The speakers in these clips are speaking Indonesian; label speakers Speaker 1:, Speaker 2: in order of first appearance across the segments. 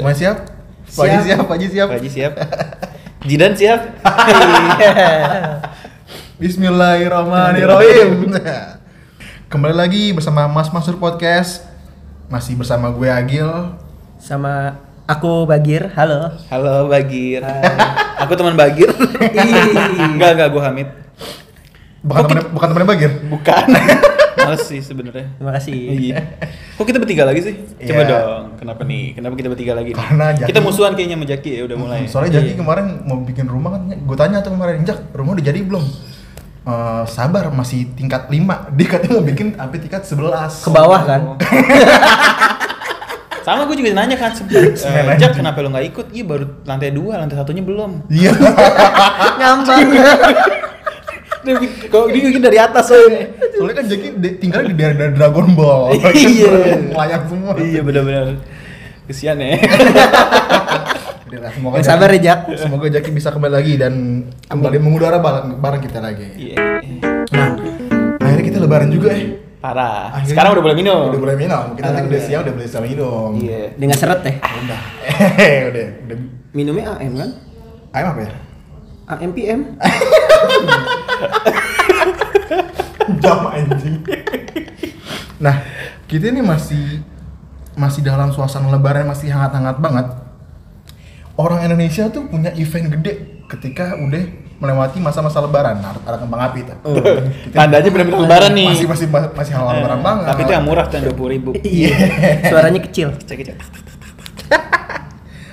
Speaker 1: Mamanya siap? Pak Haji
Speaker 2: Siap.
Speaker 1: siap, Pak Haji siap.
Speaker 3: Pak Haji siap. Jidan siap.
Speaker 1: Bismillahirrahmanirrahim. Nah, Kembali lagi bersama Mas Mansur Podcast. Masih bersama gue Agil.
Speaker 2: Sama aku Bagir, halo.
Speaker 3: Halo Bagir. Aku teman Bagir. enggak enggak gua Hamid.
Speaker 1: Bukan temennya, bukan temennya Bagir.
Speaker 3: Bukan. Males sih sebenarnya.
Speaker 2: Terima kasih.
Speaker 3: Iya. Kok kita bertiga lagi sih? Coba
Speaker 1: Iya.
Speaker 3: dong. Kenapa nih? Kenapa kita bertiga lagi? nih?
Speaker 1: Karena Jaki-
Speaker 3: kita musuhan kayaknya sama Jaki ya udah mulai.
Speaker 1: Hmm, Soalnya jadi kemarin mau bikin rumah kan, gue tanya tuh kemarin, Jak, rumah udah jadi belum? Eh, sabar masih tingkat 5 dia katanya mau bikin sampai tingkat 11
Speaker 2: Ke bawah kan?
Speaker 3: Sama gue juga nanya kan sebelum
Speaker 1: Semen
Speaker 3: eh,
Speaker 1: aja.
Speaker 3: Jak kenapa lo nggak ikut? Iya baru lantai dua, lantai satunya belum.
Speaker 1: iya
Speaker 3: Iya.
Speaker 2: Ngambang.
Speaker 3: Dia bi- Kok dia bikin dari atas soalnya.
Speaker 1: soalnya kan Jackie di- tinggalnya di daerah daerah Dragon Ball Kan
Speaker 3: Iya.
Speaker 1: layak semua
Speaker 3: iya benar-benar. Kesian ya.
Speaker 1: Udahlah, semoga
Speaker 2: Yang sabar
Speaker 1: Jaki-
Speaker 2: ya, Jak.
Speaker 1: semoga Jaki bisa kembali lagi dan kembali mengudara bareng, bareng kita lagi
Speaker 3: Iya.
Speaker 1: nah akhirnya kita lebaran juga ya
Speaker 3: Parah.
Speaker 1: Akhirnya-
Speaker 3: Ah, Sekarang udah boleh minum.
Speaker 1: udah boleh minum kita tadi udah siang udah boleh sama minum
Speaker 3: Iya.
Speaker 2: Dengan seret ya.
Speaker 1: udah eh udah udah
Speaker 2: Minumnya AM kan?
Speaker 1: ayam apa ya
Speaker 2: AMPM.
Speaker 1: jam anjing nah kita ini masih masih dalam suasana lebaran masih hangat-hangat banget orang Indonesia tuh punya event gede ketika udah melewati masa-masa lebaran ada, ada kembang api tuh
Speaker 3: Oh,
Speaker 2: Oh.
Speaker 3: Tandanya benar-benar lebaran nih.
Speaker 1: masih masih masih hal
Speaker 3: Eh,
Speaker 1: lebaran banget
Speaker 3: Tapi itu yang murah tuh dua puluh ribu.
Speaker 2: Iya. Suaranya kecil.
Speaker 3: Kecil-kecil.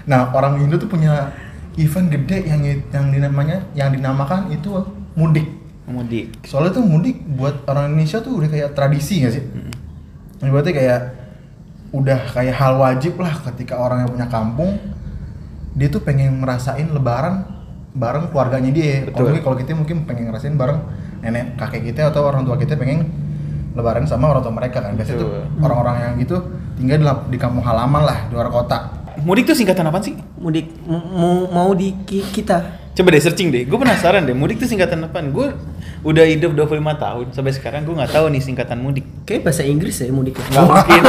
Speaker 1: nah orang Indo tuh punya event gede yang yang dinamanya yang dinamakan itu mudik
Speaker 3: Mudik.
Speaker 1: soalnya tuh mudik buat orang Indonesia tuh udah kayak tradisi gak sih?
Speaker 3: Hmm.
Speaker 1: Ibaratnya kayak udah kayak hal wajib lah ketika orang yang punya kampung dia tuh pengen ngerasain lebaran bareng keluarganya dia.
Speaker 3: Betul.
Speaker 1: Kalau mungkin- kalau kita mungkin pengen ngerasain bareng nenek kakek kita atau orang tua kita pengen lebaran sama orang tua mereka kan. Biasanya tuh
Speaker 3: Betul.
Speaker 1: orang-orang yang gitu tinggal di, lap- di kampung halaman lah, di luar kota.
Speaker 3: Mudik tuh singkatan apa sih?
Speaker 2: Mudik mu- mu- mau di ki- kita.
Speaker 3: Coba deh searching deh. Gue penasaran deh. Mudik tuh singkatan apa? Gue udah hidup 25 tahun sampai sekarang gue nggak tahu nih singkatan mudik.
Speaker 2: Kayak bahasa Inggris ya mudik. ya?
Speaker 3: Nggak mungkin.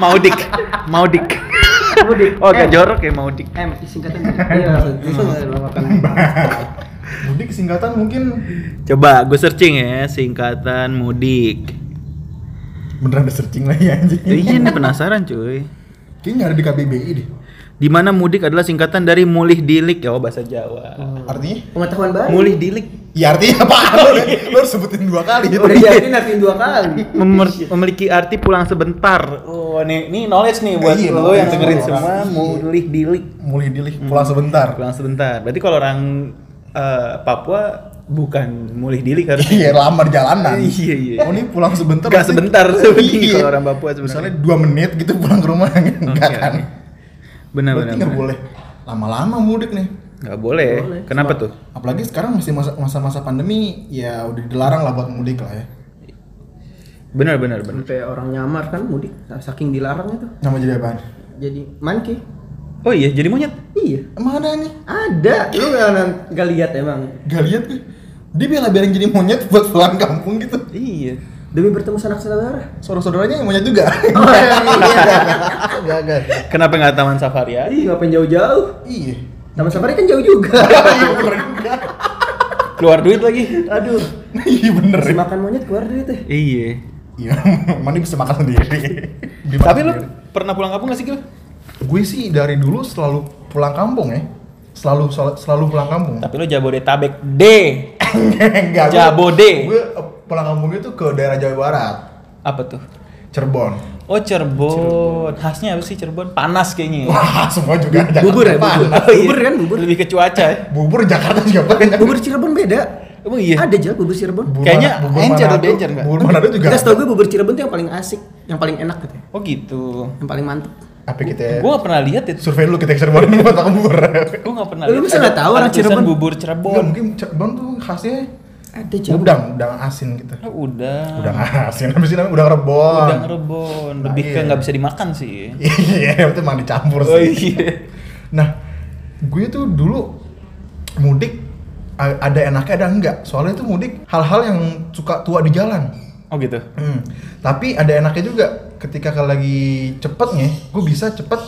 Speaker 3: Maudik. Maudik. Mudik. Oh, agak jorok ya Maudik.
Speaker 2: M singkatan. Iya.
Speaker 1: Mudik singkatan mungkin
Speaker 3: Coba gue searching ya singkatan mudik.
Speaker 1: beneran ada searching lagi anjing.
Speaker 3: Iya nih penasaran cuy.
Speaker 1: Kayaknya nggak ada di KBBI deh.
Speaker 3: Di mana mudik adalah singkatan dari mulih dilik ya oh, bahasa Jawa.
Speaker 1: Artinya?
Speaker 2: Pengetahuan baru.
Speaker 3: Mulih dilik
Speaker 1: Ya artinya apa? Lu, lu harus sebutin dua kali.
Speaker 2: Udah
Speaker 3: iya.
Speaker 2: jadi nanti dua kali.
Speaker 3: memer- memiliki arti pulang sebentar. Oh, nih, nih knowledge nih buat
Speaker 1: Iya,
Speaker 3: lo yang
Speaker 1: knowledge Iya.
Speaker 3: dengerin
Speaker 1: semua.
Speaker 3: semua mulih dilik
Speaker 1: Mulai dilih pulang sebentar.
Speaker 3: pulang sebentar. Berarti kalau orang eh, Papua bukan mulih dilik harusnya.
Speaker 1: Iya, lama di jalanan.
Speaker 3: Iya, iya.
Speaker 1: Oh, ini pulang sebentar.
Speaker 3: Nggak
Speaker 1: berarti-
Speaker 3: sebentar sebenarnya
Speaker 1: Iya.
Speaker 3: kalau orang Papua sebenarnya.
Speaker 1: Misalnya 2 menit gitu pulang ke rumah enggak
Speaker 3: Oke,
Speaker 1: kan.
Speaker 3: oke. benar
Speaker 1: Berarti
Speaker 3: benar.
Speaker 1: nggak
Speaker 3: benar.
Speaker 1: boleh lama-lama mudik nih.
Speaker 3: Nggak boleh.
Speaker 2: Boleh.
Speaker 3: Kenapa tuh?
Speaker 1: Apalagi sekarang masih masa- masa-masa pandemi, ya udah dilarang lah buat mudik lah ya.
Speaker 3: Benar benar benar.
Speaker 2: Sampai orang nyamar kan mudik saking dilarang itu.
Speaker 1: Nama jadi apaan?
Speaker 2: Jadi manki.
Speaker 3: Oh iya, jadi monyet.
Speaker 2: Iya.
Speaker 1: Mana nih?
Speaker 2: Ada. Lu nggak nggak lihat emang.
Speaker 1: Gak lihat gue. Dia bela-belain jadi monyet buat pulang kampung gitu.
Speaker 3: Iya.
Speaker 2: Demi bertemu sanak saudara.
Speaker 1: Saudara-saudaranya yang monyet juga.
Speaker 2: Oh, iya,
Speaker 1: Gak, gak.
Speaker 3: Kenapa nggak taman safari aja?
Speaker 2: Ih, ngapain jauh-jauh?
Speaker 1: Iya.
Speaker 2: Taman Safari kan jauh juga.
Speaker 1: Iya bener juga.
Speaker 3: Keluar duit lagi.
Speaker 2: Aduh,
Speaker 1: Iya bener.
Speaker 2: si makan monyet keluar duit teh.
Speaker 3: Iya.
Speaker 1: Iya, mana bisa makan sendiri. Beli makan
Speaker 3: Tapi lo
Speaker 1: sendiri.
Speaker 3: pernah pulang kampung nggak sih, Gil?
Speaker 1: gue sih dari dulu selalu pulang kampung ya. Selalu sel- selalu pulang kampung.
Speaker 3: Tapi lo Jabodetabek D.
Speaker 1: Enggak. gue-
Speaker 3: Jabode.
Speaker 1: Gue eh, pulang kampung itu ke daerah Jawa Barat,
Speaker 3: Apa tuh?
Speaker 1: Cirebon.
Speaker 3: Oh Cirebon. khasnya apa sih Cirebon? Panas kayaknya. ya?
Speaker 1: Wah, semua juga Jakarta
Speaker 2: Bubur ya,
Speaker 1: panas.
Speaker 2: bubur.
Speaker 3: Oh, iya.
Speaker 2: Bubur kan, bubur.
Speaker 3: Lebih ke cuaca ya.
Speaker 1: Bubur Jakarta juga banyak.
Speaker 2: Bubur Cirebon beda.
Speaker 3: Emang iya.
Speaker 2: Ada aja bubur Cirebon.
Speaker 1: Bubur
Speaker 3: Kayaknya
Speaker 1: Manado- bubur
Speaker 3: encer,
Speaker 1: Manado-
Speaker 3: lebih encer nggak?
Speaker 1: Bubur Manado juga.
Speaker 2: Enggak setahu gue bubur Cirebon tuh yang paling asik, yang paling enak gitu. ya.
Speaker 3: Oh gitu.
Speaker 2: Yang paling mantep.
Speaker 1: Apa kita
Speaker 3: Gue gak pernah lihat itu.
Speaker 1: survei dulu kita ke Cirebon ini buat bubur.
Speaker 3: Gue gak pernah
Speaker 2: Lu masa nggak tahu orang
Speaker 3: ada tulisan
Speaker 2: Cirebon?
Speaker 3: bubur
Speaker 1: Enggak,
Speaker 3: Cirebon.
Speaker 1: mungkin Cirebon tuh khasnya
Speaker 2: Ada Cirebon.
Speaker 1: udang, udang asin gitu.
Speaker 3: Oh, udah.
Speaker 1: Udang asin, habis itu namanya udang rebon.
Speaker 3: Udah ngerebon. Lebih
Speaker 1: Nah,
Speaker 3: ke
Speaker 1: iya.
Speaker 3: nggak bisa dimakan sih.
Speaker 1: Iya, itu emang dicampur sih.
Speaker 3: Oh iya.
Speaker 1: Nah, gue tuh dulu mudik a- ada enaknya ada enggak. Soalnya itu mudik hal-hal yang suka tua di jalan.
Speaker 3: Oh gitu.
Speaker 1: Hmm. Tapi ada enaknya juga ketika kalau lagi cepet nih, gue bisa cepet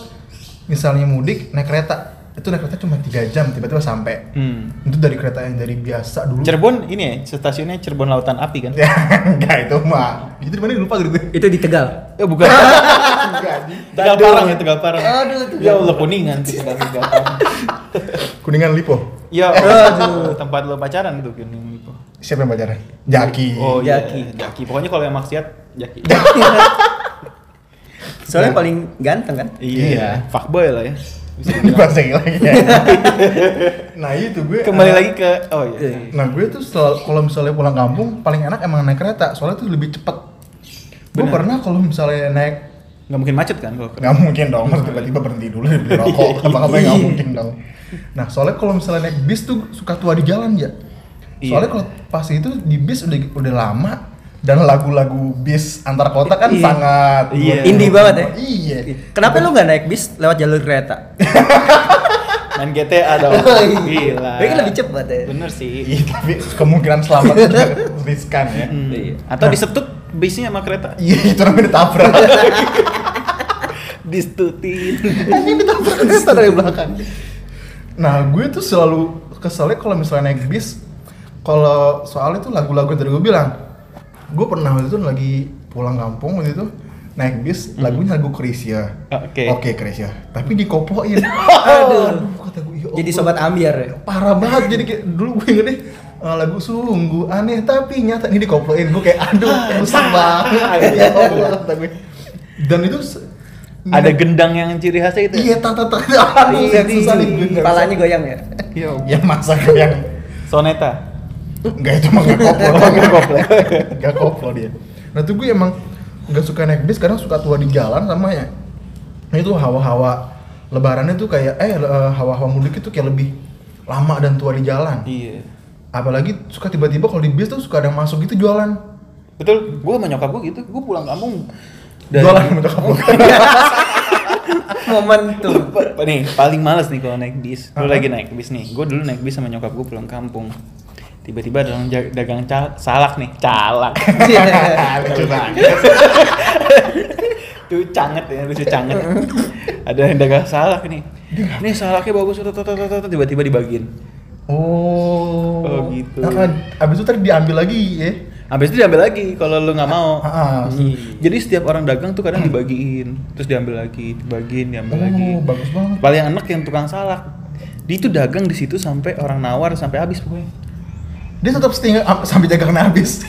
Speaker 1: misalnya mudik naik kereta itu naik kereta cuma 3 jam tiba-tiba sampai
Speaker 3: Hmm.
Speaker 1: itu dari kereta yang dari biasa dulu
Speaker 3: Cirebon ini ya, stasiunnya Cirebon Lautan Api kan?
Speaker 1: ya enggak itu mah itu di mana lupa gitu
Speaker 2: Itu di Tegal.
Speaker 3: Eh bukan.
Speaker 1: enggak di
Speaker 3: Tegal
Speaker 2: Aduh.
Speaker 3: Parang ya, Tegal Parang.
Speaker 2: Aduh, Tegal
Speaker 3: Ya Allah kuningan Tegal Tegal Parang.
Speaker 1: kuningan lipo
Speaker 3: Ya,
Speaker 2: Aduh.
Speaker 3: tempat lo pacaran tuh kuningan itu.
Speaker 1: siapa yang pacaran jaki
Speaker 3: Oh iya,
Speaker 2: Jaki.
Speaker 3: Jaki. Pokoknya kalau yang maksiat Jaki.
Speaker 2: Soalnya
Speaker 1: Nah.
Speaker 2: paling ganteng kan?
Speaker 1: Iya.
Speaker 3: Fuckboy lah ya. Bisa dibilang.
Speaker 1: dipasangin lagi ya nah itu gue
Speaker 3: Kembali
Speaker 1: eh,
Speaker 3: lagi ke oh iya.
Speaker 2: Iya.
Speaker 1: nah gue tuh selalu- kalau misalnya pulang kampung paling enak emang naik kereta soalnya tuh lebih cepet gue
Speaker 3: Benar.
Speaker 1: pernah kalau misalnya naik
Speaker 3: Nggak mungkin macet kan kalau
Speaker 1: nggak mungkin dong mas tiba-tiba berhenti dulu dia beli rokok apa apa nggak
Speaker 3: Iya.
Speaker 1: mungkin dong nah soalnya kalau misalnya naik bis tuh suka tua di jalan ya soalnya
Speaker 3: Iya.
Speaker 1: kalau pas itu di bis udah udah lama dan lagu-lagu bis antar kota kan
Speaker 2: Iya.
Speaker 1: sangat
Speaker 3: Iya.
Speaker 2: Indie banget ya?
Speaker 1: iya
Speaker 2: Kenapa lu nggak naik bis lewat jalur kereta?
Speaker 3: main GTA dong. Gila.
Speaker 2: Tapi kan lebih cepat ya.
Speaker 3: Bener sih.
Speaker 1: Iya, tapi kemungkinan selamat juga riskan ya
Speaker 3: Hmm.
Speaker 2: Iya.
Speaker 3: Atau disetut bisnya sama kereta.
Speaker 1: iya itu namanya ditabrak
Speaker 3: Distutin.
Speaker 1: anjing ditabrak kereta dari belakang nah gue tuh selalu keselnya kalau misalnya naik bis kalau soalnya tuh lagu-lagu yang tadi gue bilang gue pernah waktu itu lagi pulang kampung waktu itu naik bis
Speaker 2: Hmm.
Speaker 1: lagunya lagu Krisya
Speaker 3: Oke.
Speaker 1: oke Krisya tapi dikopoin
Speaker 2: Aduh.
Speaker 1: kata gue ya
Speaker 2: Jadi
Speaker 1: Allah.
Speaker 2: sobat ambiar ya.
Speaker 1: parah banget jadi kayak dulu gue inget deh eh, lagu sungguh aneh tapi nyata ini dikoploin gue kayak aduh rusak banget ya Allah kata gue dan itu se-
Speaker 3: Ada ya? gendang yang ciri khasnya itu.
Speaker 1: Iya, tata tata. Aduh, yang susah nih. gue nggak bisa.
Speaker 2: Iya, Kepalanya goyang ya.
Speaker 3: Iya.
Speaker 1: Ya masa goyang.
Speaker 3: Soneta.
Speaker 1: Enggak itu mah enggak koplo, enggak koplo. Enggak koplo dia. Nah, tuh gue emang enggak suka naik bis, kadang suka tua di jalan sama ya. Nah, itu hawa-hawa lebarannya tuh kayak eh eh, hawa-hawa mudik itu kayak lebih lama dan tua di jalan.
Speaker 3: Iya.
Speaker 1: Apalagi suka tiba-tiba kalau di bis tuh suka ada yang masuk gitu jualan.
Speaker 3: Betul, gue sama nyokap gue gitu, gue pulang kampung
Speaker 1: Jualan untuk apa?
Speaker 2: Momentum.
Speaker 3: Pa- nih paling males nih kalau naik bis lu
Speaker 1: Apa?
Speaker 3: lagi naik bis nih gue dulu naik bis sama nyokap gue pulang kampung tiba-tiba ada orang ja- dagang cal- salak nih calak Iya,
Speaker 1: Lucu banget.
Speaker 3: tuh canget ya lucu canget ada yang dagang salak nih nih salaknya bagus tut, tut, tut, tut, tut, tiba-tiba dibagiin
Speaker 1: Oh.
Speaker 3: Oh, gitu.
Speaker 1: Nah, abis itu tadi diambil lagi ya.
Speaker 3: habis itu diambil lagi kalau lu nggak mau
Speaker 1: Ah, ah, ah.
Speaker 3: Hmm. jadi setiap orang dagang tuh kadang dibagiin terus diambil lagi dibagiin diambil
Speaker 1: Oh,
Speaker 3: lagi
Speaker 1: bagus banget.
Speaker 3: paling enak yang tukang salak dia itu dagang di situ sampai orang nawar sampai habis pokoknya
Speaker 1: Dia tetap setinggal am- sampai dagangnya habis.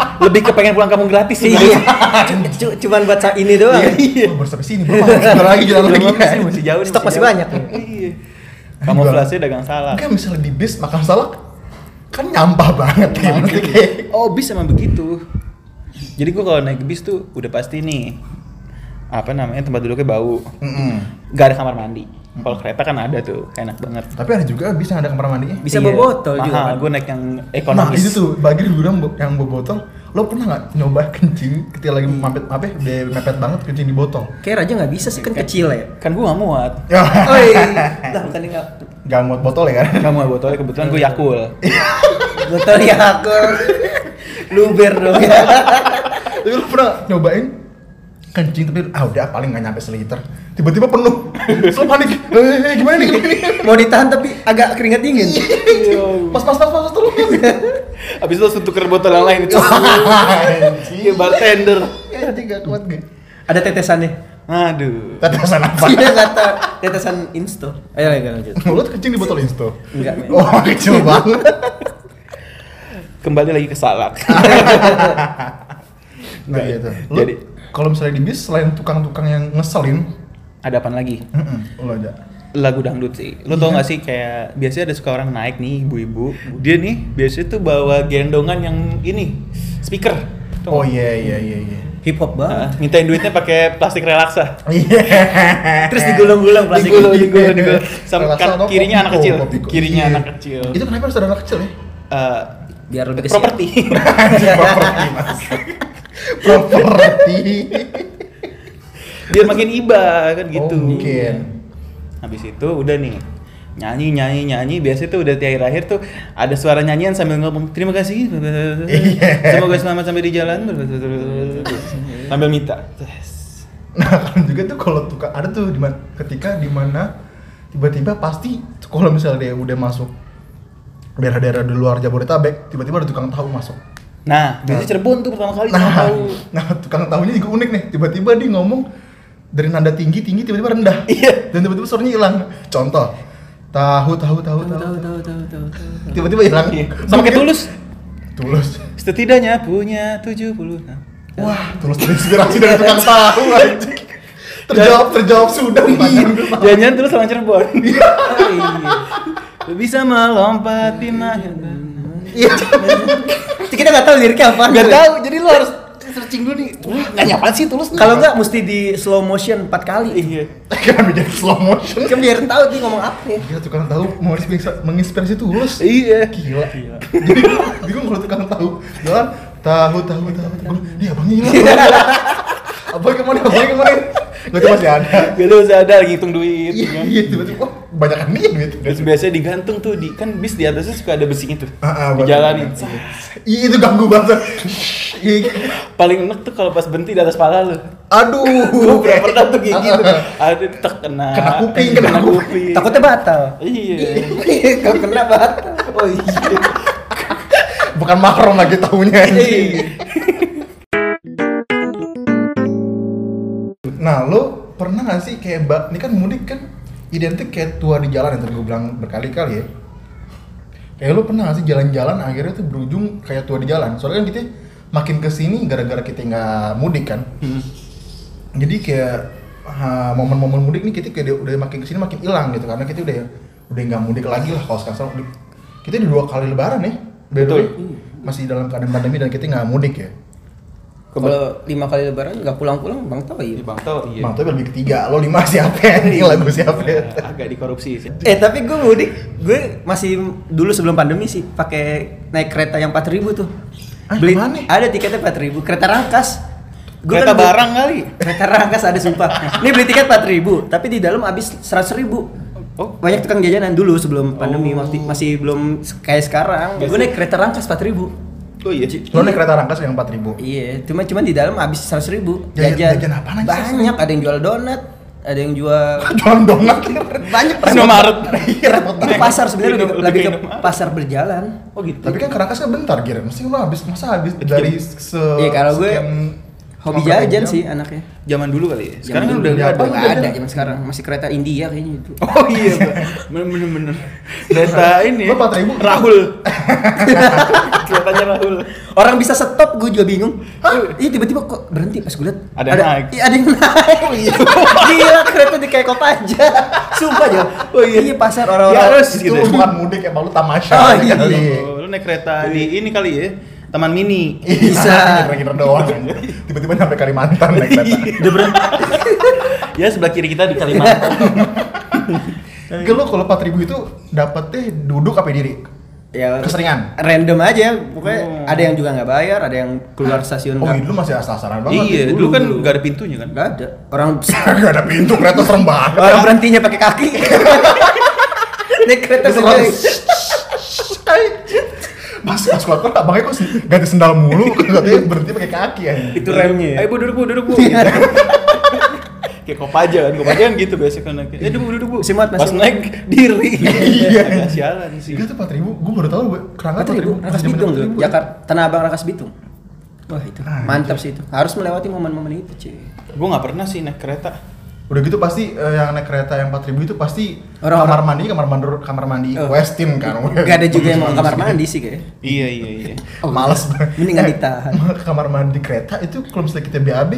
Speaker 1: Ah,
Speaker 3: lebih ke pengen pulang kampung gratis sih
Speaker 2: Iya. Cu- cu- Cuman buat saat ini doang.
Speaker 1: Iya. Oh, baru sampai sini, belum ada sebentar lagi jalan lagi.
Speaker 3: Belum, masih, masih jauh nih,
Speaker 2: Stok masih
Speaker 3: jauh.
Speaker 2: banyak.
Speaker 3: Iya. Kamuflase dagang salah.
Speaker 1: Kan misalnya di bis makan salak kan nyampah banget ya. Maksudnya kayak
Speaker 3: Oh, bis emang begitu. Jadi gua kalau naik bis tuh udah pasti nih apa namanya tempat duduknya bau.
Speaker 1: Mm-mm.
Speaker 3: Gak ada kamar mandi. Kalau kereta kan ada tuh, enak banget. Iya.
Speaker 1: Tapi ada juga bis yang ada kamar mandinya.
Speaker 2: Bisa bawa botol juga
Speaker 3: mahal.
Speaker 2: kan?
Speaker 3: Gue naik yang
Speaker 1: Nah,
Speaker 3: ekonomis.
Speaker 1: itu tuh bagi di gudang bo- yang bawa botol, lo pernah nggak nyoba kencing ketika lagi mepet apa ya, udah mepet banget kencing di botol?
Speaker 2: Kayak Raja nggak bisa sih kan kecil ya.
Speaker 3: Kan gua gak muat.
Speaker 2: Oi, Oh, iya. lah bukan nggak
Speaker 1: Gak muat botol ya kan?
Speaker 3: Gak muat botolnya kebetulan gue Yakul.
Speaker 2: botol ya aku luber dong ya.
Speaker 1: Tapi lo pernah nyobain kencing tapi ah udah paling nggak nyampe seliter tiba-tiba penuh Terus lo panik eh, gimana nih gimana nih
Speaker 2: Mau ditahan tapi agak keringat dingin.
Speaker 1: pas pas pas pas pas, tolong
Speaker 3: Abis itu langsung tuker botol yang lain itu. Iya, bartender.
Speaker 1: Eh, Anjing gak kuat gue.
Speaker 2: Ada tetesannya.
Speaker 3: Aduh.
Speaker 1: Tetesan apa?
Speaker 2: Iya kata tetesan insto. Ayo lagi lanjut.
Speaker 1: Mulut kencing di botol insto.
Speaker 2: Enggak, men.
Speaker 1: Oh, kecil banget.
Speaker 3: Kembali lagi ke salak.
Speaker 1: Nah,
Speaker 3: Iya.
Speaker 1: gitu. Jadi
Speaker 3: Jadi-
Speaker 1: kalau misalnya di bis selain tukang-tukang yang ngeselin,
Speaker 3: ada apaan lagi?
Speaker 1: heeh, lo ada.
Speaker 3: lagu dangdut sih. Lo
Speaker 1: Iya.
Speaker 3: tau gak sih kayak biasanya ada suka orang naik nih ibu-ibu. Dia nih biasanya tuh bawa gendongan yang ini speaker.
Speaker 1: Oh
Speaker 3: Tau nggak?
Speaker 1: iya iya iya iya.
Speaker 2: Hip
Speaker 3: Ah,
Speaker 2: hop banget.
Speaker 3: mintain duitnya pakai plastik relaksa.
Speaker 1: Iya.
Speaker 2: Terus digulung-gulung plastik.
Speaker 3: Digulung, digulung, digulung. Sama
Speaker 1: Relaksa
Speaker 3: kan
Speaker 1: atau
Speaker 3: kirinya anak
Speaker 1: kopiko,
Speaker 3: kecil.
Speaker 1: kopiko.
Speaker 3: Kirinya
Speaker 1: Iya.
Speaker 3: anak kecil.
Speaker 1: Itu kenapa harus ada anak kecil ya?
Speaker 3: Eh,
Speaker 2: Biar lebih kesiap.
Speaker 3: properti.
Speaker 1: Anjing, Properti mas. Properti.
Speaker 3: Biar makin iba kan gitu.
Speaker 1: Oh, mungkin.
Speaker 3: Habis itu udah nih nyanyi nyanyi nyanyi biasanya tuh udah di akhir akhir tuh ada suara nyanyian sambil ngomong terima kasih
Speaker 1: Iya.
Speaker 3: semoga selamat sampai di jalan sambil minta
Speaker 1: Nah, kadang juga tuh kalau tukang ada tuh di mana- ketika di mana tiba-tiba pasti kalau misalnya dia udah masuk daerah-daerah di luar Jabodetabek, tiba-tiba ada tukang tahu masuk.
Speaker 3: Nah, biasanya Cirebon tuh pertama kali tukang
Speaker 1: Nah,
Speaker 3: tahu.
Speaker 1: nah tukang tahunya juga unik nih. Tiba-tiba dia ngomong dari nada tinggi tinggi tiba-tiba rendah.
Speaker 3: Iya.
Speaker 1: Dan tiba-tiba suaranya hilang. Contoh, tahu tahu tahu tahu.
Speaker 2: tahu tahu tahu tahu tahu.
Speaker 1: Tiba-tiba hilang.
Speaker 3: Iya. Sama kayak tulus.
Speaker 1: Tulus.
Speaker 3: Setidaknya punya 70. Nah.
Speaker 1: Wah, tulus terinspirasi dari tukang
Speaker 3: Iya.
Speaker 1: tahu anjing. Terjawab terjawab sudah pertanyaan gue.
Speaker 3: Jangan-jangan tulus orang Cirebon. Oh, iya. Bisa melompat pindah.
Speaker 1: Iya.
Speaker 2: Kita nggak tahu liriknya apa.
Speaker 3: Gak tahu, jadi lo harus searching dulu nih. Wah, nggak nyapaan sih tulus.
Speaker 2: Kalau nggak mesti di slow motion 4 kali.
Speaker 3: iya.
Speaker 1: Kan jadi slow motion.
Speaker 2: Kan biar tahu dia ngomong apa. ya.
Speaker 1: Gila tukang tahu mau inspirasi- menginspirasi tulus.
Speaker 3: Iya.
Speaker 1: Gila. Jadi gue bingung kalau tukang tahu jalan tahu tahu tahu. Gue, Dia abangnya hilang. Abang kemana? Abang kemana? Gak tuh masih ada.
Speaker 3: Gak lu usah ada lagi hitung duit.
Speaker 1: Iya,
Speaker 3: kan.
Speaker 1: iya tiba-tiba wah banyak gitu." nih duit.
Speaker 3: Terus biasanya digantung tuh di kan bis di atasnya suka ada gitu. besinya tuh.
Speaker 1: Ah, ah, betul.
Speaker 3: Dijalanin.
Speaker 1: Iya itu ganggu banget. Iya.
Speaker 3: Paling enak tuh kalau pas berhenti di atas pala lu.
Speaker 1: Aduh.
Speaker 3: Gue pernah tuh kayak gitu.
Speaker 1: Uh, Ah, ah.
Speaker 3: Ada tak kena.
Speaker 1: Kena kuping, kena
Speaker 3: kuping.
Speaker 2: Takutnya batal.
Speaker 3: Iya.
Speaker 2: Kalau kena batal. Oh iya.
Speaker 1: Bukan mahram lagi tahunya.
Speaker 2: Iya.
Speaker 1: Nah, lo pernah gak sih kayak ba- ini kan mudik kan identik kayak tua di jalan yang tadi gue bilang berkali-kali ya. Kayak lo pernah gak sih jalan-jalan akhirnya tuh berujung kayak tua di jalan. Soalnya kan kita makin kesini gara-gara kita nggak mudik kan.
Speaker 3: Hmm.
Speaker 1: Jadi kayak ha, momen-momen mudik nih kita kayak udah makin kesini makin hilang gitu karena kita udah udah nggak mudik lagi lah kalau sekarang udah- kita udah dua kali lebaran nih. By the
Speaker 3: Betul.
Speaker 1: way, Masih dalam keadaan pandemi dan kita nggak mudik ya.
Speaker 2: Kalau lima kali lebaran nggak pulang-pulang bang tahu
Speaker 3: Di
Speaker 2: ya.
Speaker 3: Bang Tau, iya.
Speaker 1: Mang tapi lebih ketiga, lo lima siapa ya? Ini lagu siapa ya?
Speaker 3: Agak dikorupsi sih.
Speaker 2: Eh tapi gue mudik, gue masih dulu sebelum pandemi sih pakai naik kereta yang 4000 tuh.
Speaker 1: Ah,
Speaker 2: Beli
Speaker 1: apaan nih?
Speaker 2: ada tiketnya 4000, kereta rangkas. Gua
Speaker 3: Kereta
Speaker 2: kan beli-
Speaker 3: barang kali.
Speaker 2: Kereta rangkas ada sumpah. Ini beli tiket 4000, tapi di dalam habis 100.000.
Speaker 3: Oh.
Speaker 2: Banyak tukang jajanan dulu sebelum pandemi
Speaker 3: Oh. Iya
Speaker 2: masih, masih belum se- kayak sekarang.
Speaker 3: Biasa.
Speaker 2: Gue naik kereta rangkas 4000.
Speaker 3: Oh iya.
Speaker 1: Lo naik kereta rangkas yang 4000 ribu
Speaker 2: Iya, cuma cuman di dalam habis 100.000.
Speaker 1: Jajan- jajan apaan aja
Speaker 2: Banyak, ada yang jual donat, ada yang jual
Speaker 1: Jualan donat
Speaker 2: banyak
Speaker 3: Indomaret.
Speaker 2: Itu Iya, pasar sebenarnya lebih,
Speaker 3: Lebih
Speaker 2: lebih
Speaker 3: ke
Speaker 2: ke
Speaker 3: Indomaret.
Speaker 2: pasar berjalan.
Speaker 3: Oh gitu.
Speaker 1: Tapi kan ke rangkas kan bentar kira Mesti lo habis, masa habis dari se
Speaker 2: Iya, kalau gue Hobi jajan sih anaknya.
Speaker 3: zaman dulu kali ya. Sekarang
Speaker 2: Zaman
Speaker 3: kan
Speaker 2: dulu
Speaker 3: udah nggak
Speaker 1: apa?
Speaker 3: ada.
Speaker 2: nggak
Speaker 1: Udah
Speaker 2: ada
Speaker 1: ada.
Speaker 2: zaman sekarang, masih kereta India kayaknya itu.
Speaker 3: Oh iya, Pak. bener-bener. Kereta ini.
Speaker 1: Lo 4.000?
Speaker 3: Rahul. Keretanya Rahul.
Speaker 2: Orang bisa stop, gue juga bingung. Hah? Iya tiba-tiba kok berhenti pas gue liat
Speaker 3: Ada yang naik. Oh, iya.
Speaker 2: Iya ada yang naik. Gila kereta di kayak aja. Sumpah aja.
Speaker 3: Oh, iya.
Speaker 2: Iya pasar
Speaker 3: Ya,
Speaker 2: orang-orang.
Speaker 3: harus
Speaker 1: Itu
Speaker 3: gitu.
Speaker 1: bukan mudik, emang lo tamasya
Speaker 2: Oh, iya.
Speaker 1: kali.
Speaker 3: Oh, Lu naik kereta di ini kali ya. Taman Mini.
Speaker 1: Iya,
Speaker 2: Bisa.
Speaker 1: Kira-kira doang Tiba-tiba nyampe Kalimantan naik kereta
Speaker 2: Iya.
Speaker 3: Udah berhenti. ya sebelah kiri kita di Kalimantan.
Speaker 1: Ke lo Kan kalau 4000 itu dapetnya duduk apa diri?
Speaker 2: Ya,
Speaker 1: Keseringan?
Speaker 2: Random aja, pokoknya
Speaker 3: Oh. gitu.
Speaker 2: ada yang juga nggak bayar, ada yang keluar stasiun
Speaker 1: Oh
Speaker 2: nggak-
Speaker 1: iya, lo masih asal-asalan banget
Speaker 3: iya,
Speaker 2: Dulu,
Speaker 3: dulu kan
Speaker 2: dulu.
Speaker 3: nggak ada pintunya kan.
Speaker 2: nggak ada. Orang
Speaker 1: Gak ada pintu, kereta serem banget
Speaker 2: Orang berhentinya pakai kaki. Naik kereta
Speaker 1: Terus
Speaker 2: sendiri.
Speaker 1: orang- Mas, mas keluar keluar abangnya kok sen- ganti sendal mulu Katanya berhenti pakai kaki ya
Speaker 2: Itu remnya
Speaker 3: Ayo
Speaker 2: ya? Iya.
Speaker 3: bu duduk bu duduk bu. Kayak kopaja kan, kopaja kan gitu biasa kan. Ya duduk bu duduk bu.
Speaker 2: Si Mat masih-
Speaker 3: Pas naik diri.
Speaker 1: Iya.
Speaker 3: Agak Sialan sih.
Speaker 1: Enggak tuh 4000, gue baru tahu gue kerangka
Speaker 2: Rakas Bitung, Rakas Bitung tuh, Jakarta, Tanah Abang Rakas Bitung. iya. Wah itu
Speaker 1: Ah,
Speaker 2: mantap sih itu. Harus melewati momen-momen itu, cuy.
Speaker 3: Gue nggak pernah sih naik kereta.
Speaker 1: Udah gitu pasti eh, yang naik kereta yang 4000 itu pasti
Speaker 2: Orang-
Speaker 1: kamar mandi kamar mandi kamar mandi
Speaker 2: Oh.
Speaker 1: Westin kan.
Speaker 2: Gak ada juga yang mau ke kamar mandi sih kayaknya.
Speaker 3: Iya iya iya.
Speaker 2: Oh,
Speaker 1: Males
Speaker 2: iya.
Speaker 1: banget.
Speaker 2: Mendingan
Speaker 1: Eh,
Speaker 2: ditahan.
Speaker 1: kamar mandi kereta itu kalau misalnya kita BAB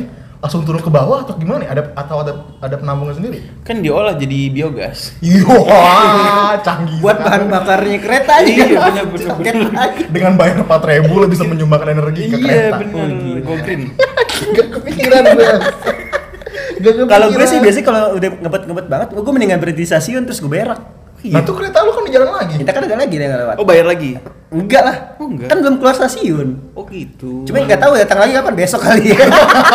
Speaker 1: langsung turun ke bawah atau gimana nih? Ada atau ada ada penambungnya sendiri?
Speaker 3: Kan diolah jadi biogas.
Speaker 1: Iya, canggih.
Speaker 2: Buat bahan
Speaker 1: sekali.
Speaker 2: bakarnya kereta aja.
Speaker 3: Iya, bener, bener,
Speaker 2: Paket
Speaker 3: bener.
Speaker 2: aja.
Speaker 1: Dengan bayar 4000 lo bisa menyumbangkan energi ke kereta.
Speaker 3: Iya
Speaker 2: Oh,
Speaker 3: benar.
Speaker 2: gila.
Speaker 3: Go green.
Speaker 1: Gak kepikiran gue. Gak kepikiran.
Speaker 2: Kalau gue sih biasanya kalau udah ngebet-ngebet banget, gue mendingan berhenti di stasiun terus gue berak.
Speaker 1: Nah tuh kereta lu kan di jalan lagi.
Speaker 2: Iya. Kita kan ada lagi yang lewat.
Speaker 3: Oh bayar lagi.
Speaker 2: Enggak lah.
Speaker 3: Oh, enggak.
Speaker 2: Kan belum keluar stasiun.
Speaker 3: Oh gitu.
Speaker 2: Cuma
Speaker 1: Hmm.
Speaker 2: nggak tahu datang lagi kapan besok kali ya.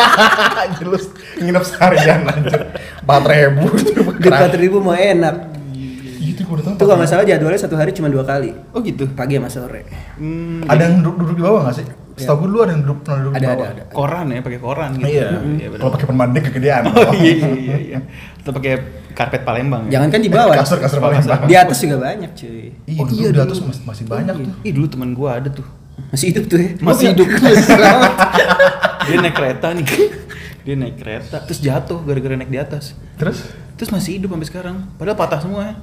Speaker 1: Jelas nginep seharian anjir. 4000
Speaker 2: Duit empat ribu mau enak.
Speaker 1: Iya, Itu gue udah tahu.
Speaker 2: Itu kalau nggak salah jadwalnya satu hari cuma dua kali.
Speaker 3: Iya. Oh gitu.
Speaker 2: Pagi sama sore.
Speaker 3: Hmm, Iya.
Speaker 1: Ada yang duduk, duduk di bawah nggak sih? Setahu gue dulu ada yang duduk pernah duduk di
Speaker 2: Ada,
Speaker 1: bawah.
Speaker 2: ada, ada.
Speaker 3: koran ya pakai koran gitu
Speaker 1: Iya.
Speaker 3: bener.
Speaker 1: Kalau pakai permen dek kegedean.
Speaker 3: oh iya iya iya, iya atau pakai karpet Palembang ya.
Speaker 2: Jangan kan di
Speaker 1: Eh,
Speaker 2: bawah.
Speaker 1: kasur- kasur paling bawah.
Speaker 2: Di atas juga banyak, cuy.
Speaker 1: Iya, dulu di atas masih- masih banyak
Speaker 2: Iya.
Speaker 1: tuh.
Speaker 3: Oh, ih dulu teman gua ada tuh
Speaker 2: Masih hidup tuh ya.
Speaker 3: Masih hidup.
Speaker 2: Selamat.
Speaker 3: dia naik kereta nih dia naik kereta terus jatuh gara-gara naik di atas
Speaker 1: Terus?
Speaker 3: terus masih hidup sampai sekarang padahal patah semua ya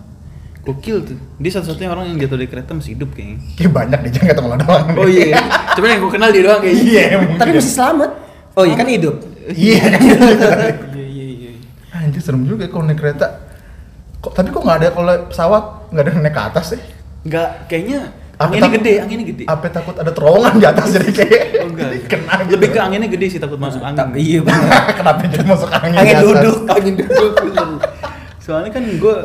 Speaker 3: gokil tuh dia satu-satunya orang yang jatuh dari kereta masih hidup kayaknya
Speaker 1: Kayak ya banyak deh, jangan ketemu lo doang. deh.
Speaker 3: oh iya cuman yang gua kenal dia doang kayaknya
Speaker 1: Iya,
Speaker 2: Tapi masih selamat. Oh iya kan hidup.
Speaker 1: Iya.
Speaker 3: iya iya iya
Speaker 1: Anjir serem juga kalau naik kereta. Kok tapi kok nggak ada kalau naik pesawat nggak ada yang naik ke atas sih?
Speaker 3: nggak kayaknya
Speaker 1: Apa
Speaker 3: anginnya
Speaker 1: tak-
Speaker 3: gede anginnya gede
Speaker 1: Apa ya, takut ada terowongan di atas jadi kayak
Speaker 3: Oh, enggak.
Speaker 1: kena Nah, gitu.
Speaker 3: lebih ke anginnya gede sih takut masuk angin
Speaker 2: Tapi iya benar.
Speaker 1: Kenapa jadi masuk angin?
Speaker 2: Angin
Speaker 1: di atas?
Speaker 2: duduk.
Speaker 3: angin dulu bener. soalnya kan gue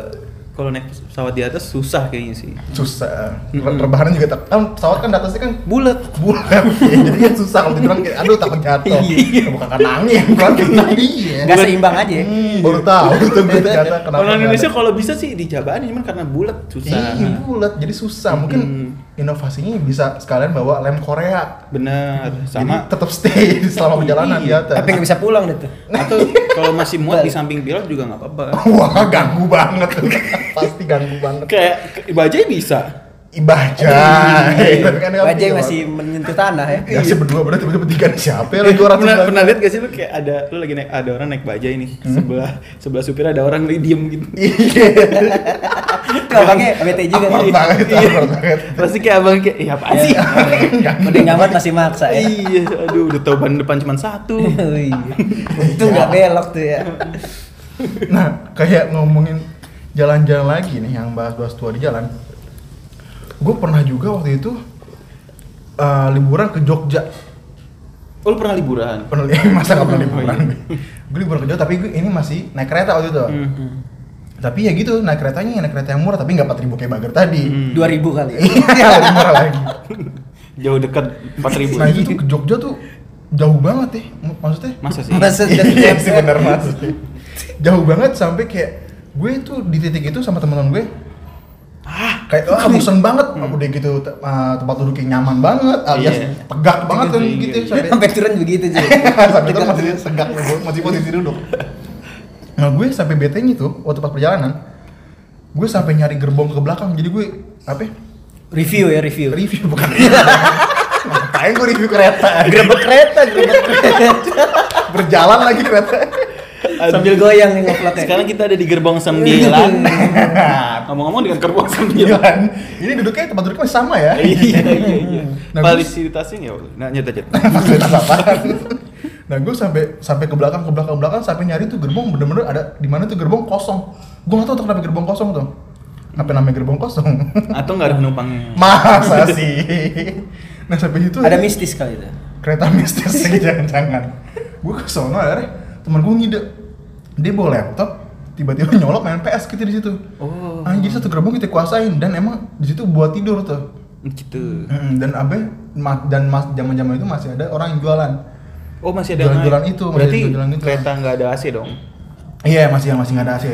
Speaker 3: kalau naik pesawat di atas susah kayaknya sih
Speaker 1: Susah.
Speaker 3: Mm-mm.
Speaker 1: Rebahan juga tak. Kan pesawat kan di atasnya kan
Speaker 3: bulat
Speaker 1: bulat. Iya, jadi kan susah kalau tiduran kayak aduh takut jatuh.
Speaker 3: Iya.
Speaker 1: Bukan karena angin, bukan karena iya.
Speaker 2: Enggak seimbang aja. ya.
Speaker 1: Hmm, baru tahu tuh gue ternyata kenapa.
Speaker 3: orang
Speaker 1: nggak
Speaker 3: Indonesia
Speaker 1: ada.
Speaker 3: kalau bisa sih dijabanin cuman karena bulat susah
Speaker 1: Iya, bulat jadi susah. Mungkin
Speaker 3: Mm.
Speaker 1: inovasinya bisa sekalian bawa lem Korea.
Speaker 3: bener sama
Speaker 1: Jadi tetap stay selama perjalanan ya. di atas.
Speaker 2: Tapi nggak bisa pulang deh tuh.
Speaker 3: atau kalau masih muat di samping pilot juga nggak apa-apa
Speaker 1: Wah, ganggu banget. Pasti ganggu banget.
Speaker 3: kayak bajai bisa
Speaker 1: Ibaca. Iya, kan
Speaker 2: Wajah Iya. masih menyentuh tanah ya.
Speaker 1: Ya sih berdua berdua tiba-tiba tiga nih. siapa ya? Dua ratus.
Speaker 3: pernah, pernah lihat gak sih lu kayak ada lu lagi naik ada orang naik bajai nih sebelah sebelah supir ada orang lagi diem gitu
Speaker 1: Iya.
Speaker 2: Itu abangnya bete juga
Speaker 1: Apart
Speaker 2: tadi.
Speaker 1: banget, apart banget.
Speaker 3: pasti kayak abang kayak iya apa sih
Speaker 2: Mending nyaman masih maksa ya.
Speaker 3: iya aduh udah tau ban depan cuma satu
Speaker 2: Oh, iya. Itu nggak belok tuh ya.
Speaker 1: Nah, kayak ngomongin jalan-jalan lagi nih yang bahas-bahas tua di jalan. Gue pernah juga waktu itu eh, liburan ke Jogja.
Speaker 3: Oh, lu pernah liburan?
Speaker 1: Pernah masa nggak pernah liburan? gue liburan ke Jogja, tapi gue ini masih naik kereta waktu itu.
Speaker 3: Hmm,
Speaker 1: Tapi ya gitu, naik keretanya naik kereta yang murah, tapi nggak 4000 kayak Bagger tadi.
Speaker 3: Hmm.
Speaker 2: 2000 kali. ya.
Speaker 1: Iya, lebih murah lagi.
Speaker 3: Jauh dekat 4000.
Speaker 1: Nah itu tuh ke Jogja tuh jauh banget ya, M- maksudnya.
Speaker 3: Masa sih?
Speaker 2: Maksudnya
Speaker 1: Iya sih bener maksudnya. Jauh banget sampai kayak gue itu di titik itu sama teman-teman gue kayak ah bosen banget aku udah gitu te- ah, tempat duduknya nyaman banget alias
Speaker 3: Iya.
Speaker 1: tegak banget kan
Speaker 3: Iya,
Speaker 1: gitu
Speaker 3: iya.
Speaker 1: sampai
Speaker 2: Sampai turun begitu cuy.
Speaker 1: sampai itu masih tegak masih posisi duduk nah gue sampai bete nya tuh waktu pas perjalanan gue sampai nyari gerbong ke belakang jadi gue apa ya,
Speaker 2: Review ya review.
Speaker 1: review bukan ngapain gue review kereta
Speaker 2: Gerbek kereta, gerbek kereta.
Speaker 1: berjalan lagi kereta
Speaker 2: Sambil goyang yang ngevlognya.
Speaker 3: Sekarang kita ada di gerbong 9. Ngomong-ngomong di gerbong 9.
Speaker 1: Gila. Iya kan? Ini duduknya tempat duduknya masih sama ya.
Speaker 3: Iya, iya, iya.
Speaker 1: Nah,
Speaker 3: Fasilitasnya ya, nah nyata nyata.
Speaker 1: Fasilitas apaan? Nah, gue sampai sampai ke belakang ke belakang ke belakang sampai nyari tuh gerbong bener-bener ada di mana tuh gerbong kosong. Gue nggak tahu tuh kenapa gerbong kosong tuh. Apa namanya gerbong kosong?
Speaker 3: Atau nggak ada penumpangnya?
Speaker 1: Masa sih? Nah, sampai situ
Speaker 2: Ada mistis kali itu.
Speaker 1: kereta mistis sih jangan-jangan. Gue ke sono akhirnya temen gue ngide. Dia bawa laptop, tiba-tiba nyolok main PS gitu di situ.
Speaker 3: Oh.
Speaker 1: Anjir satu gerbong kita kuasain dan emang di situ buat tidur tuh.
Speaker 3: Gitu.
Speaker 1: Mm, dan abe ma- dan mas zaman zaman itu masih ada orang yang jualan.
Speaker 3: Oh, masih ada yang
Speaker 1: Jalan-jalan
Speaker 3: naik.
Speaker 1: itu, masih ada
Speaker 3: Berarti
Speaker 1: jalan-jalan itu.
Speaker 3: kereta nggak ada AC dong.
Speaker 1: Iya masih masih nggak ada AC.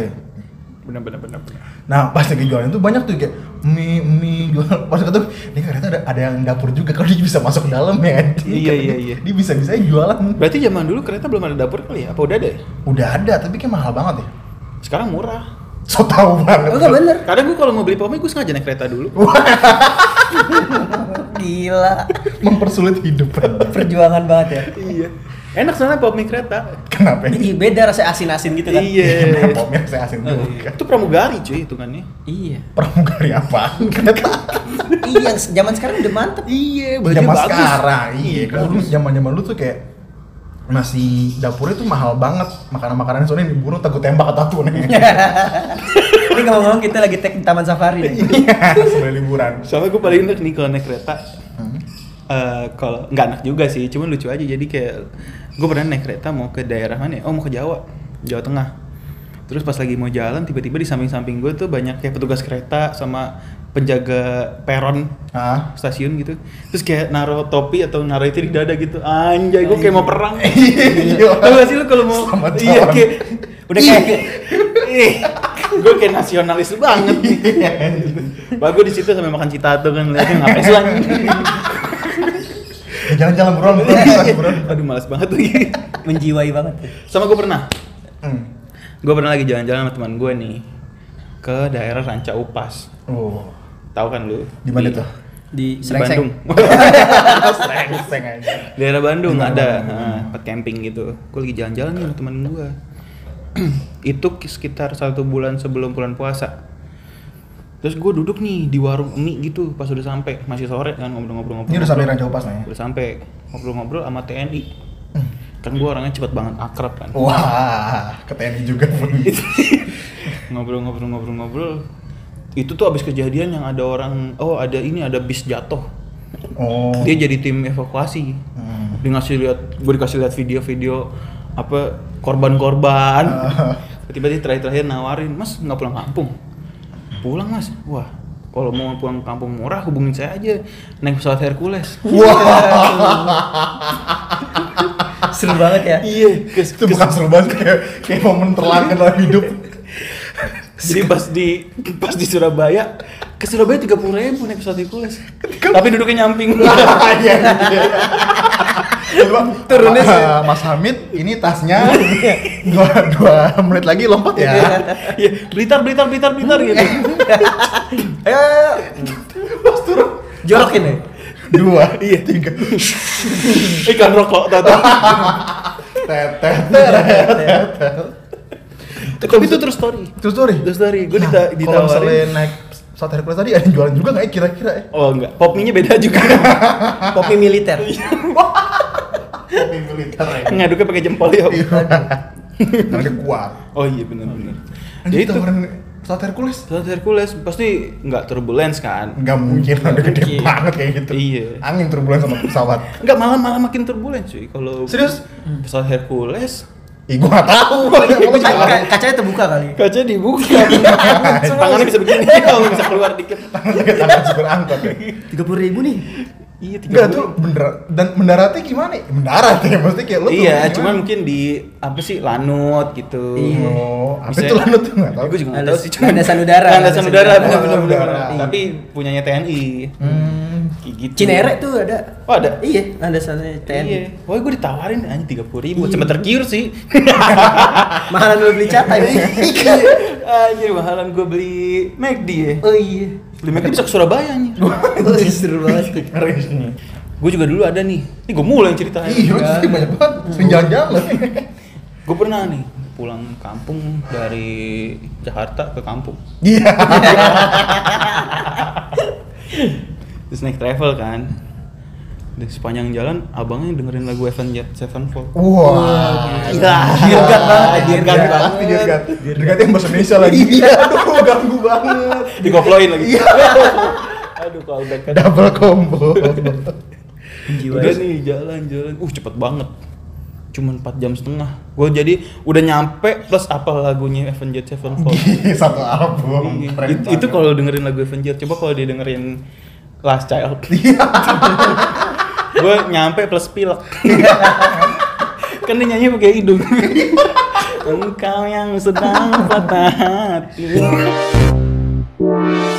Speaker 3: Benar benar benar benar.
Speaker 1: Nah pas lagi jualan itu banyak tuh kayak mie mie jual. Pas ketemu ini ternyata ada ada yang dapur juga kalau dia bisa masuk ke dalam ya.
Speaker 3: Iya, iya, iya.
Speaker 1: Dia bisa bisanya jualan.
Speaker 3: Berarti zaman dulu kereta belum ada dapur kali ya? Apa udah ada ya?
Speaker 1: Udah ada tapi kayak mahal banget ya.
Speaker 3: Sekarang murah.
Speaker 1: So tau banget.
Speaker 2: Oh, enggak bener.
Speaker 3: Kadang gue kalau mau beli pome gue sengaja naik kereta dulu.
Speaker 1: Oh.
Speaker 2: Gila.
Speaker 1: Mempersulit hidup.
Speaker 2: Perjuangan banget ya.
Speaker 3: Iya. Enak soalnya pome kereta.
Speaker 1: Kenapa?
Speaker 2: Iya, beda rasa asin-asin gitu kan.
Speaker 3: Iya.
Speaker 1: Pomnya saya asin juga.
Speaker 3: Itu pramugari cuy hitungannya.
Speaker 2: Iya.
Speaker 1: Pramugari apa? Kereta.
Speaker 2: Iya, yang zaman sekarang udah mantep.
Speaker 3: Iya,
Speaker 1: zaman sekarang iya kalau dulu zaman zaman lu tuh kayak masih dapurnya tuh mahal banget makanan makanannya soalnya yang dibunuh takut tembak atau tuh nih
Speaker 2: Ini ngomong-ngomong kita lagi tek di Taman Safari nih.
Speaker 1: Iya. sebelum liburan
Speaker 3: Soalnya gue paling enak nih kalau naik kereta.
Speaker 1: Hmm.
Speaker 3: Eh, kalau nggak enak juga sih, cuman lucu aja. Jadi kayak gue pernah naik kereta mau ke daerah mana? ya? Oh mau ke Jawa, Jawa Tengah. Terus pas lagi mau jalan, tiba-tiba di samping-samping gue tuh banyak kayak petugas kereta sama penjaga peron
Speaker 1: ah
Speaker 3: stasiun gitu. Terus kayak naruh topi atau naruh itu di dada gitu. Anjay, gue kayak mau perang.
Speaker 1: Iya.
Speaker 3: Tahu gak sih lu kalau mau
Speaker 1: Selamat
Speaker 3: iya
Speaker 1: jalan.
Speaker 3: kayak udah kayak
Speaker 1: Iya.
Speaker 3: ih, gue kayak nasionalis banget nih.
Speaker 1: Ya, Iya.
Speaker 3: Bagus di situ sampai makan cita tuh kan lihatnya ngapain sih anjing?
Speaker 1: Jalan-jalan buruan, buruan, buruan.
Speaker 3: Aduh malas banget lagi.
Speaker 2: menjiwai banget
Speaker 3: Sama gue pernah.
Speaker 1: Hmm.
Speaker 3: Gue pernah lagi jalan-jalan sama teman gue nih ke daerah Ranca Upas.
Speaker 1: Oh,
Speaker 3: Tahu kan lu?
Speaker 1: di mana tuh?
Speaker 2: di
Speaker 3: Di
Speaker 2: Serengseng.
Speaker 3: Bandung.
Speaker 1: Seng aja.
Speaker 3: daerah
Speaker 1: Di
Speaker 3: Bandung
Speaker 1: mana
Speaker 3: ada
Speaker 1: Bandung?
Speaker 3: nah, tempat camping gitu. Gue lagi jalan-jalan nih sama teman gue. itu sekitar satu bulan sebelum bulan puasa. Terus gue duduk nih di warung mie gitu pas udah sampai masih sore kan ngobrol-ngobrol-ngobrol.
Speaker 1: Ini udah sampai Ranca Upas nih.
Speaker 3: Udah sampai ngobrol-ngobrol sama TNI. Kan gue orangnya cepet banget akrab kan.
Speaker 1: Oh. Wah, ke TNI juga pun.
Speaker 3: ngobrol-ngobrol-ngobrol-ngobrol itu tuh abis kejadian yang ada orang oh ada ini ada bis jatuh
Speaker 1: Oh.
Speaker 3: dia jadi tim evakuasi
Speaker 1: Hmm.
Speaker 3: dia ngasih lihat gue dikasih lihat video-video apa korban-korban
Speaker 1: Ah.
Speaker 3: tiba-tiba terakhir-terakhir nawarin mas nggak pulang kampung pulang mas wah kalau mau pulang kampung murah hubungin saya aja naik pesawat Hercules
Speaker 1: Wah,
Speaker 2: seru banget ya
Speaker 3: iya
Speaker 1: itu bukan seru banget kayak, kayak momen terlanjut dalam hidup.
Speaker 3: Jadi pas di pas di Surabaya ke Surabaya tiga puluh ribu naik pesawat Hercules. Tapi duduknya nyamping.
Speaker 1: Iya, iya. Coba,
Speaker 2: Turunnya
Speaker 1: Ma-
Speaker 2: sih.
Speaker 1: Mas Hamid, ini tasnya dua, dua menit lagi lompat ya.
Speaker 3: Iya, blitar blitar blitar blitar gitu.
Speaker 2: ayo ayo, ayo.
Speaker 1: Mas turun
Speaker 2: jorokin ya
Speaker 1: dua, iya tiga.
Speaker 3: Ikan rokok tata.
Speaker 1: Tetet.
Speaker 3: Tapi itu terus story.
Speaker 1: Terus story.
Speaker 3: Terus story. Gue dita
Speaker 1: Nah, Kalau misalnya
Speaker 3: ditawarin.
Speaker 1: naik pesawat Hercules tadi ada yang jualan juga nggak ya kira-kira ya?
Speaker 3: Oh enggak, pop mie-nya beda juga.
Speaker 2: kopi militer
Speaker 1: Kopi militer ya.
Speaker 3: Ngaduknya pakai jempol ya.
Speaker 1: Iya. Karena kuat.
Speaker 3: Oh iya benar-benar.
Speaker 1: Jadi
Speaker 3: Ya
Speaker 1: itu
Speaker 3: itu
Speaker 1: pesawat Hercules
Speaker 3: pesawat Hercules pasti nggak turbulence kan?
Speaker 1: nggak mungkin ada gede
Speaker 3: mungkin.
Speaker 1: banget kayak gitu.
Speaker 3: Iya.
Speaker 1: Angin turbulen sama pesawat.
Speaker 3: Enggak malah malah makin turbulence cuy kalau
Speaker 1: Serius?
Speaker 3: pesawat Hercules
Speaker 1: Ih gua nggak tahu. Gua juga nggak
Speaker 2: Kaca- kacanya terbuka kali
Speaker 3: kaca dibuka
Speaker 1: Iya,
Speaker 3: tangannya bisa begini kalau bisa keluar dikit
Speaker 1: tahu. Tangan tangan supir angkot. ya.
Speaker 2: tiga puluh ribu nih
Speaker 3: iya tiga
Speaker 1: Enggak
Speaker 3: puluh.
Speaker 1: tuh bener dan mendaratnya gimana? ya? Mendarat ya pasti kayak lu. turun
Speaker 3: iya cuman
Speaker 1: gimana?
Speaker 3: mungkin di apa sih lanut gitu
Speaker 2: Iya.
Speaker 1: Oh, apa
Speaker 3: Bisa- ya?
Speaker 1: itu lanut tuh nggak tahu.
Speaker 3: gue juga nggak tahu
Speaker 2: Landas-
Speaker 3: sih cuman
Speaker 2: landasan udara.
Speaker 3: landasan udara
Speaker 2: Landasan
Speaker 3: benar benar
Speaker 1: udara.
Speaker 3: benar.
Speaker 1: Iya.
Speaker 3: tapi punyanya TNI
Speaker 1: Hmm.
Speaker 3: Kayak gitu
Speaker 2: Cinere tuh ada
Speaker 3: oh ada
Speaker 2: iya landasannya TNI
Speaker 3: Iya, wah gue ditawarin anjing tiga puluh ribu,
Speaker 2: Iya.
Speaker 3: cuma tergiur sih.
Speaker 2: mahalan lu beli catat
Speaker 3: Iya. Anjir mahalan gue beli McD ya.
Speaker 2: oh iya
Speaker 3: Beli McD bisa ke Surabaya anjir.
Speaker 2: oh, seru banget
Speaker 1: Range nih.
Speaker 3: Gue juga dulu ada nih, ini gue mulai yang ceritanya.
Speaker 1: Iya, lu sih banyak banget. Sering jalan-jalan.
Speaker 3: Gue pernah nih pulang kampung dari Jakarta ke kampung.
Speaker 1: Iya.
Speaker 3: Terus naik travel kan. Di sepanjang jalan abangnya dengerin lagu Evan Jet Sevenfold.
Speaker 1: Wah. Iya.
Speaker 2: Gila. Dirgat banget,
Speaker 1: dirgat
Speaker 2: dirgat
Speaker 1: banget. Dirgat. Dirgat yang bahasa Indonesia lagi.
Speaker 2: Iya.
Speaker 1: Aduh, ganggu banget.
Speaker 3: Digoploin lagi.
Speaker 1: Iya.
Speaker 3: Aduh kalau back kan.
Speaker 1: Double combo. ya.
Speaker 3: Udah
Speaker 2: jiwa
Speaker 3: nih jalan-jalan. Uh cepet banget. Cuman 4 jam setengah. Gue jadi udah nyampe plus apa lagunya Evan Jet Sevenfold.
Speaker 1: Gih, Satu album.
Speaker 3: Iya.
Speaker 1: Keren
Speaker 3: Itu, itu
Speaker 1: banget.
Speaker 3: kalau dengerin lagu Evan Jet. Coba kalau dia dengerin Last Child. gue nyampe plus pilek kan dia nyanyi pakai hidung engkau yang sedang patah hati